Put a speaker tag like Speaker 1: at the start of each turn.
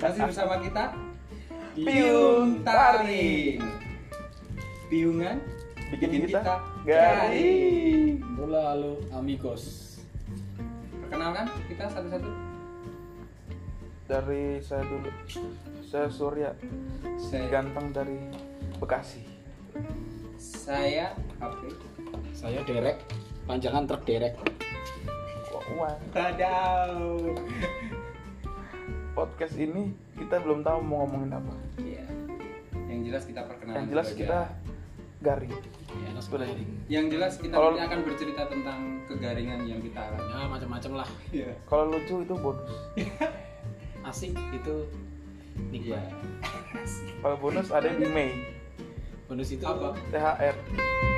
Speaker 1: Masih bersama kita Piung Taring. Piungan
Speaker 2: Bikin kita
Speaker 1: garing.
Speaker 3: Bola halo amigos.
Speaker 1: Perkenalkan kita satu-satu.
Speaker 2: dari saya dulu saya Surya
Speaker 1: Saya,
Speaker 2: ganteng dari Bekasi
Speaker 1: saya Apri.
Speaker 3: Saya Derek, panjangan truk Derek.
Speaker 2: wah
Speaker 1: Tadau.
Speaker 2: podcast ini kita belum tahu mau ngomongin apa
Speaker 1: Iya. Yang jelas kita perkenalan.
Speaker 2: yang jelas
Speaker 1: dulu Nah, aja.
Speaker 2: kita garing
Speaker 3: Ya, enak
Speaker 2: Sudah.
Speaker 3: sekali.
Speaker 1: Yang jelas kita
Speaker 2: Kalau-
Speaker 1: nanti akan bercerita tentang kegaringan yang kita alami.
Speaker 3: Ya macam-macam lah.
Speaker 1: Iya.
Speaker 2: kalau lucu itu bonus
Speaker 3: Asik itu nikmat.
Speaker 1: Iya.
Speaker 2: kalau bonus ada di Mei
Speaker 3: Bonus itu
Speaker 1: Apa?
Speaker 2: THR